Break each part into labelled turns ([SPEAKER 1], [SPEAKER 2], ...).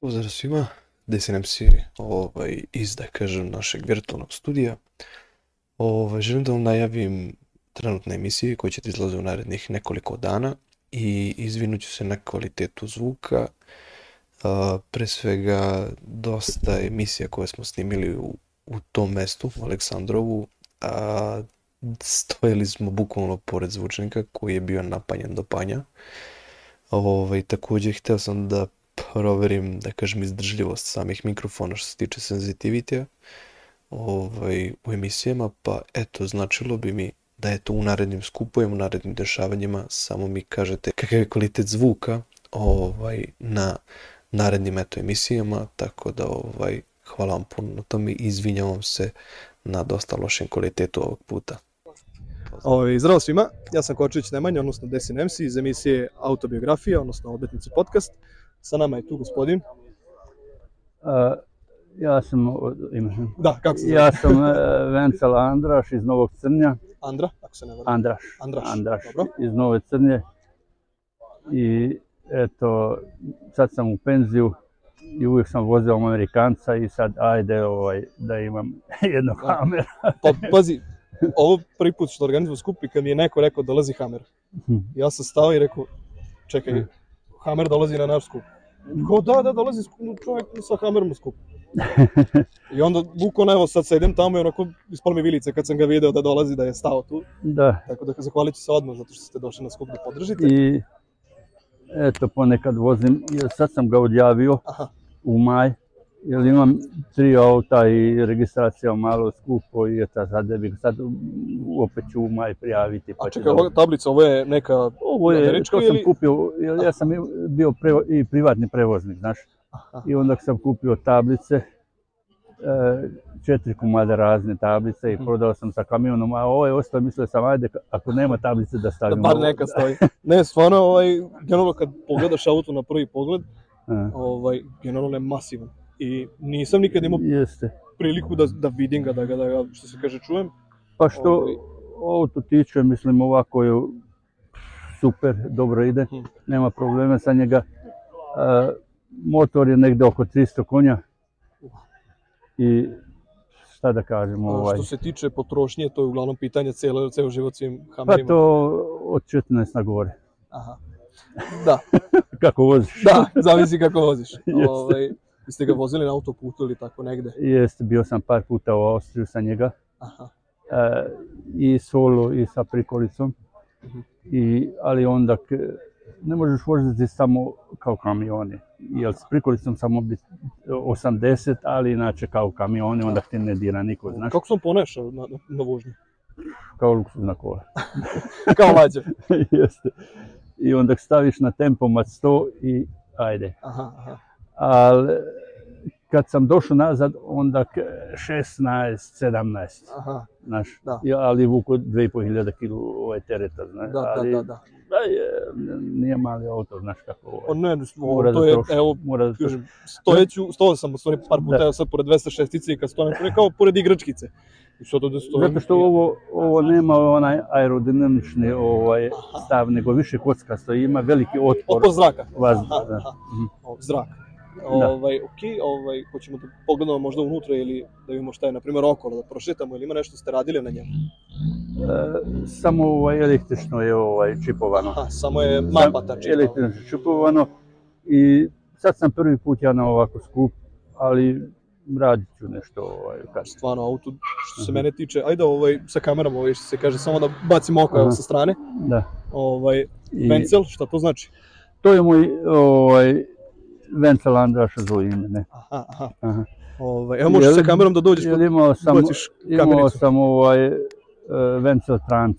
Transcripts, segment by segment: [SPEAKER 1] Pozdrav svima, DSNM Siri, ovaj, iz, da kažem, našeg virtualnog studija. Ovaj, želim da vam najavim trenutne emisije koje će ti izlaze u narednih nekoliko dana i izvinut ću se na kvalitetu zvuka. A, pre svega, dosta emisija koje smo snimili u, u tom mestu, u Aleksandrovu, a, stojili smo bukvalno pored zvučnika koji je bio napanjen do panja. Ovaj, takođe, hteo sam da proverim, da kažem, izdržljivost samih mikrofona što se tiče senzitivitija ovaj, u emisijama, pa eto, značilo bi mi da je to u narednim skupovima, u narednim dešavanjima, samo mi kažete kakav je kvalitet zvuka ovaj, na narednim eto emisijama, tako da ovaj, hvala vam puno na tome i izvinjavam se na dosta lošem kvalitetu ovog puta.
[SPEAKER 2] Ovaj, zdravo svima, ja sam Kočević Nemanja, odnosno Desin MC iz emisije Autobiografija, odnosno Obetnici podcast. Sa nama je tu gospodin.
[SPEAKER 3] A, ja sam, imam,
[SPEAKER 2] Da, kako se zove?
[SPEAKER 3] ja sam e, Vencela Andraš iz Novog Crnja,
[SPEAKER 2] Andra, ako se ne varam.
[SPEAKER 3] Andraš,
[SPEAKER 2] Andraš,
[SPEAKER 3] Andraš
[SPEAKER 2] dobro.
[SPEAKER 3] iz Nove Crnje i eto, sad sam u penziju i uvijek sam vozio Amerikanca i sad ajde ovaj, da imam jednu
[SPEAKER 2] Da.
[SPEAKER 3] kameru.
[SPEAKER 2] Pa, pazi, ovo prvi put što organizujem skup i kad mi je neko rekao dolazi Hamer.
[SPEAKER 3] Mhm.
[SPEAKER 2] Ja sam stao i rekao, čekaj, Hamer dolazi na naš skup. Ko da, da, dolazi skup, čovjek sa Hamerom u skup. I onda, bukvalno, evo, sad sedem tamo i onako ispalo mi vilice kad sam ga video da dolazi, da je stao tu.
[SPEAKER 3] Da,
[SPEAKER 2] Tako da zahvalit ću se odmah zato što ste došli na skup da podržite.
[SPEAKER 3] i eto ponekad vozim, jer sad sam ga odjavio
[SPEAKER 2] Aha.
[SPEAKER 3] u maj, jer imam tri auta i registracija malo skupo i eto sad da bih sad mm, opet ću u maj prijaviti. ću
[SPEAKER 2] A čekaj,
[SPEAKER 3] Znači, da-
[SPEAKER 2] ova tablica, ovo je neka...
[SPEAKER 3] Ovo je,
[SPEAKER 2] Američko
[SPEAKER 3] to sam
[SPEAKER 2] ili-
[SPEAKER 3] kupio, jer ja sam i- bio prevo, i privatni prevoznik, znaš.
[SPEAKER 2] Aha.
[SPEAKER 3] I onda sam kupio tablice, e, četiri komada razne tablice i
[SPEAKER 2] Mhm.
[SPEAKER 3] prodao sam sa kamionom, a ovo je ostao, mislio sam, ajde, ako nema tablice da
[SPEAKER 2] Da
[SPEAKER 3] stavim.
[SPEAKER 2] bar
[SPEAKER 3] ovo.
[SPEAKER 2] neka stoji. Ne, stvarno, ovaj, generalno kad pogledaš auto na prvi pogled,
[SPEAKER 3] E,
[SPEAKER 2] ovaj, generalno je masivan. I nisam nikad imao
[SPEAKER 3] Jeste.
[SPEAKER 2] priliku da, da vidim ga, da ga, da ga, što se kaže, čujem.
[SPEAKER 3] Pa što
[SPEAKER 2] Ovaj.
[SPEAKER 3] auto tiče, mislim ovako je super, dobro ide,
[SPEAKER 2] Mhm.
[SPEAKER 3] nema problema sa njega. E, motor je negde oko 300 konja i šta da kažem,
[SPEAKER 2] A
[SPEAKER 3] ovaj...
[SPEAKER 2] Što se tiče potrošnje, to je uglavnom pitanje celo, ceo život svim
[SPEAKER 3] Pa
[SPEAKER 2] hamerima.
[SPEAKER 3] to od 14 na gore.
[SPEAKER 2] Aha. Da,
[SPEAKER 3] Kako voziš?
[SPEAKER 2] da, zavisi kako voziš.
[SPEAKER 3] Jeste.
[SPEAKER 2] ovaj, jeste ga vozili na autoputu ili tako negde?
[SPEAKER 3] Jeste, bio sam par puta u Austriju sa njega.
[SPEAKER 2] Aha.
[SPEAKER 3] e, I solo i sa prikolicom.
[SPEAKER 2] Mhm.
[SPEAKER 3] I, ali onda k, ne možeš voziti samo kao kamioni. Jer s prikolicom samo bi 80, ali inače kao kamioni, onda ti ne dira niko, Pa znaš,
[SPEAKER 2] Kako sam ponašao na, na, na vožnju?
[SPEAKER 3] kao luksuzna kola.
[SPEAKER 2] Kao lađe.
[SPEAKER 3] Jeste. I onda k staviš na tempomat 100 i ajde.
[SPEAKER 2] Aha, aha.
[SPEAKER 3] ali kad sam došao nazad, onda k- 16, 17,
[SPEAKER 2] aha.
[SPEAKER 3] znaš,
[SPEAKER 2] Da.
[SPEAKER 3] ja, ali vuku 2500 kilo ovaj tereta, znaš,
[SPEAKER 2] Da,
[SPEAKER 3] ali
[SPEAKER 2] da, da, da.
[SPEAKER 3] da je, nije mali auto, znaš kako
[SPEAKER 2] O,
[SPEAKER 3] ovaj,
[SPEAKER 2] ne, ne, ovo,
[SPEAKER 3] mora da
[SPEAKER 2] to je,
[SPEAKER 3] troši.
[SPEAKER 2] evo,
[SPEAKER 3] mora da se...
[SPEAKER 2] kažem, stojeću, stojao sam, u stvari, par puta,
[SPEAKER 3] Da.
[SPEAKER 2] evo sad, pored 206-ice i kad stojim, to je kao pored igračkice. I sad ovde stojim.
[SPEAKER 3] Zato što ovo, ovo nema onaj aerodinamični ovaj stav, nego više kockasto i ima veliki otpor
[SPEAKER 2] Otpor zraka.
[SPEAKER 3] vazduha.
[SPEAKER 2] Aha,
[SPEAKER 3] da.
[SPEAKER 2] aha.
[SPEAKER 3] Mhm.
[SPEAKER 2] O, zrak. Ovaj, ok, ovaj, hoćemo da pogledamo možda unutra ili da vidimo šta je, na primjer, okolo, da prošetamo ili ima nešto ste radili na njemu.
[SPEAKER 3] E, samo ovaj električno je ovaj čipovano.
[SPEAKER 2] Aha, samo je mapa ta čitava.
[SPEAKER 3] Električno čipovano i sad sam prvi put ja na ovako skup, ali radit ću nešto ovaj, kasnije.
[SPEAKER 2] Stvarno, auto, što se
[SPEAKER 3] Mhm.
[SPEAKER 2] mene tiče, ajde ovaj, sa kamerom, ovaj, što se kaže, samo da bacimo oko evo,
[SPEAKER 3] Aha.
[SPEAKER 2] sa strane.
[SPEAKER 3] Da.
[SPEAKER 2] Ovaj,
[SPEAKER 3] I
[SPEAKER 2] Vencel, šta to znači?
[SPEAKER 3] to je moj ovaj, Vencel Andraša zove ime, ne?
[SPEAKER 2] Aha, aha.
[SPEAKER 3] Aha.
[SPEAKER 2] Ovaj, evo možeš
[SPEAKER 3] Jel-
[SPEAKER 2] sa kamerom da dođeš
[SPEAKER 3] Jer imao sam,
[SPEAKER 2] Baciš
[SPEAKER 3] imao
[SPEAKER 2] kamericu.
[SPEAKER 3] sam ovaj, e, Vencel Trans,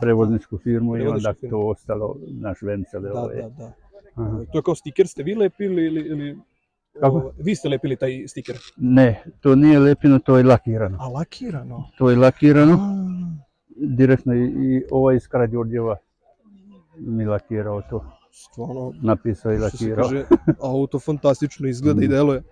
[SPEAKER 3] prevozničku firmu i
[SPEAKER 2] Prevozničku
[SPEAKER 3] onda
[SPEAKER 2] firmu.
[SPEAKER 3] to ostalo naš Vencel.
[SPEAKER 2] Da,
[SPEAKER 3] ovaj.
[SPEAKER 2] da, da.
[SPEAKER 3] Aha.
[SPEAKER 2] To je kao stiker ste vi lepili ili... ili
[SPEAKER 3] Kako?
[SPEAKER 2] Ovaj, vi ste lepili taj stiker.
[SPEAKER 3] Ne, to nije lepino, to je lakirano.
[SPEAKER 2] A lakirano.
[SPEAKER 3] To je lakirano. direktno i, i ovaj iz Karađorđeva mi lakirao to,
[SPEAKER 2] Stvarno,
[SPEAKER 3] napisao i
[SPEAKER 2] što se
[SPEAKER 3] lakirao.
[SPEAKER 2] kaže, auto fantastično izgleda i
[SPEAKER 3] Mm.
[SPEAKER 2] deluje.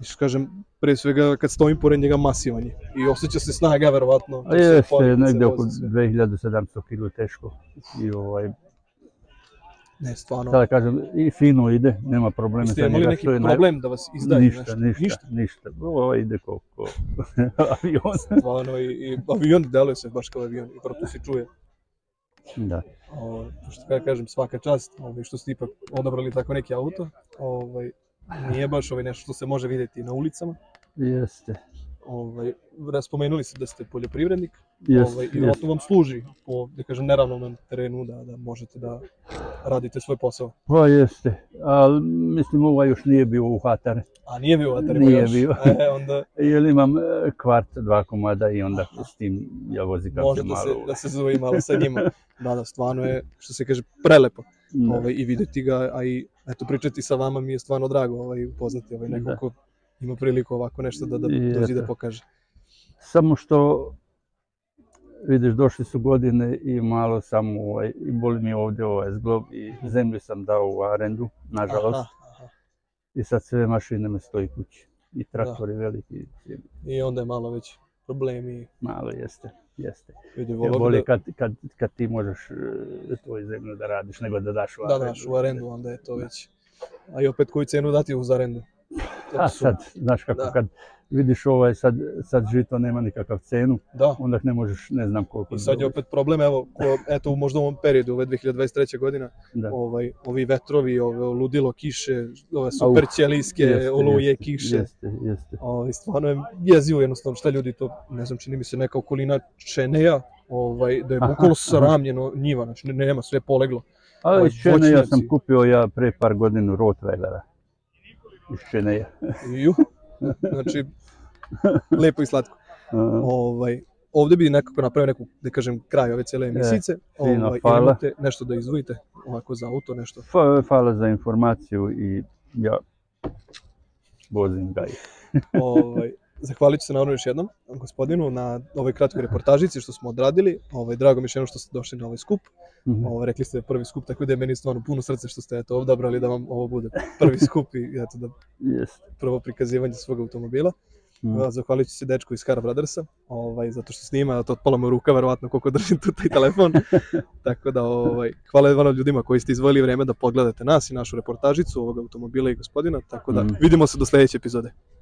[SPEAKER 2] I što kažem, pre svega kad stojim pored njega masivan je. I osjeća se snaga, verovatno.
[SPEAKER 3] A jeste,
[SPEAKER 2] Podigne se,
[SPEAKER 3] negde
[SPEAKER 2] vozi
[SPEAKER 3] oko
[SPEAKER 2] sve.
[SPEAKER 3] 2700 kg teško i ovaj,
[SPEAKER 2] Ne, stvarno.
[SPEAKER 3] Sada kažem, i fino ide, nema problema
[SPEAKER 2] Jeste
[SPEAKER 3] sa
[SPEAKER 2] imali
[SPEAKER 3] njega.
[SPEAKER 2] neki
[SPEAKER 3] to je naj-
[SPEAKER 2] problem da vas izdaje
[SPEAKER 3] ništa,
[SPEAKER 2] nešto?
[SPEAKER 3] ništa, ništa, Ovo ide kao kao avion.
[SPEAKER 2] Stvarno, i, i avion deluje se baš kao avion, i proto se čuje.
[SPEAKER 3] Da.
[SPEAKER 2] O, što Ovaj, ja kažem, svaka čast, ovaj, što ste ipak odabrali tako neki auto. Ovaj, nije baš ovaj nešto što se može vidjeti na ulicama.
[SPEAKER 3] Jeste.
[SPEAKER 2] Ovaj, raspomenuli ste da ste poljoprivrednik.
[SPEAKER 3] Jeste,
[SPEAKER 2] ovaj, I
[SPEAKER 3] jeste.
[SPEAKER 2] vjerojatno vam služi po, da kažem, neravnom terenu da, da možete da radite svoj posao.
[SPEAKER 3] Pa jeste, ali mislim ovaj još nije bio u Hatar,
[SPEAKER 2] A nije bio vatar,
[SPEAKER 3] Nije
[SPEAKER 2] još.
[SPEAKER 3] bio.
[SPEAKER 2] E, onda
[SPEAKER 3] jer imam e, kvart, dva komada i onda s tim ja vozi kako
[SPEAKER 2] može
[SPEAKER 3] se
[SPEAKER 2] da se,
[SPEAKER 3] malo...
[SPEAKER 2] da se zove malo sa njima. Da, da, stvarno je, što se kaže, prelepo.
[SPEAKER 3] Da.
[SPEAKER 2] Ovaj, I videti ga, a i eto, pričati sa vama mi je stvarno drago ovaj, upoznati ovaj, nekog
[SPEAKER 3] Da.
[SPEAKER 2] ko ima priliku ovako nešto da, da
[SPEAKER 3] I
[SPEAKER 2] dođe da
[SPEAKER 3] eto.
[SPEAKER 2] pokaže.
[SPEAKER 3] Samo što, vidiš, došli su godine i malo sam, ovaj, i boli mi ovdje ovaj zglob i zemlju sam dao u arendu, nažalost,
[SPEAKER 2] Aha, aha.
[SPEAKER 3] i sad sve mašine me stoji kući. I traktori veliki, i
[SPEAKER 2] I onda je malo već problemi.
[SPEAKER 3] malo jeste, jeste.
[SPEAKER 2] Ljudi
[SPEAKER 3] Jer
[SPEAKER 2] vole
[SPEAKER 3] bolje
[SPEAKER 2] da,
[SPEAKER 3] kad, kad, kad ti možeš e, tvoju zemlju da radiš, nego da daš u
[SPEAKER 2] da daš u arendu, onda je to već. A i opet koju cenu dati uz arendu.
[SPEAKER 3] A
[SPEAKER 2] su-
[SPEAKER 3] sad, znaš kako,
[SPEAKER 2] Da.
[SPEAKER 3] kad vidiš ovaj, sad, sad žito nema nikakav cenu,
[SPEAKER 2] Da,
[SPEAKER 3] onda ne možeš, ne znam koliko...
[SPEAKER 2] I sad je
[SPEAKER 3] dobiti.
[SPEAKER 2] opet problem, evo, ko, eto, u možda u ovom periodu, ove 2023. godina,
[SPEAKER 3] Da.
[SPEAKER 2] ovaj, ovi vetrovi, ove ludilo kiše, ove
[SPEAKER 3] Au,
[SPEAKER 2] super ćelijske
[SPEAKER 3] Jeste,
[SPEAKER 2] oluje,
[SPEAKER 3] jeste,
[SPEAKER 2] kiše.
[SPEAKER 3] Jeste, jeste.
[SPEAKER 2] Ovaj, stvarno je jezivo jednostavno šta ljudi to, ne znam, čini mi se neka okolina Čeneja, ovaj, da je
[SPEAKER 3] Aha,
[SPEAKER 2] bukvalno
[SPEAKER 3] aha.
[SPEAKER 2] sramljeno njiva, znači ne- nema, sve je poleglo.
[SPEAKER 3] A
[SPEAKER 2] Ovaj,
[SPEAKER 3] iz Čene ja sam
[SPEAKER 2] voćnjaci.
[SPEAKER 3] kupio ja pre par godinu Rottweilera. Iz Čeneja.
[SPEAKER 2] Ju, znači, lepo i slatko.
[SPEAKER 3] E,
[SPEAKER 2] Ovaj, ovdje bi nekako napravio neku, da kažem, kraj ove cijele emisice.
[SPEAKER 3] E, fino,
[SPEAKER 2] Ovaj,
[SPEAKER 3] hvala.
[SPEAKER 2] ili imate nešto da izdvojite, ovako za auto, nešto.
[SPEAKER 3] Fa- Hvala za informaciju i ja vozim ga. i-
[SPEAKER 2] ovaj, zahvalit ću se naravno još jednom gospodinu na ovoj kratkoj reportažici što smo odradili. Ovaj, drago mi je još jednom što ste došli na ovaj skup.
[SPEAKER 3] Mhm.
[SPEAKER 2] Ovaj, rekli ste da je prvi skup, tako da je meni stvarno puno srce što ste eto, odabrali da vam ovo bude prvi skup i eto, da
[SPEAKER 3] Jeste.
[SPEAKER 2] prvo prikazivanje svog automobila.
[SPEAKER 3] Mm.
[SPEAKER 2] Mm. Zahvalit ću se dečku iz Car Brothersa, ovaj, zato što snima, zato otpala mu ruka, verovatno koliko držim tu taj telefon. Tako da, ovaj, hvala vam ljudima koji ste izvojili vreme da pogledate nas i našu reportažicu ovog automobila i gospodina. Tako da,
[SPEAKER 3] Mm.
[SPEAKER 2] vidimo se do sljedeće epizode.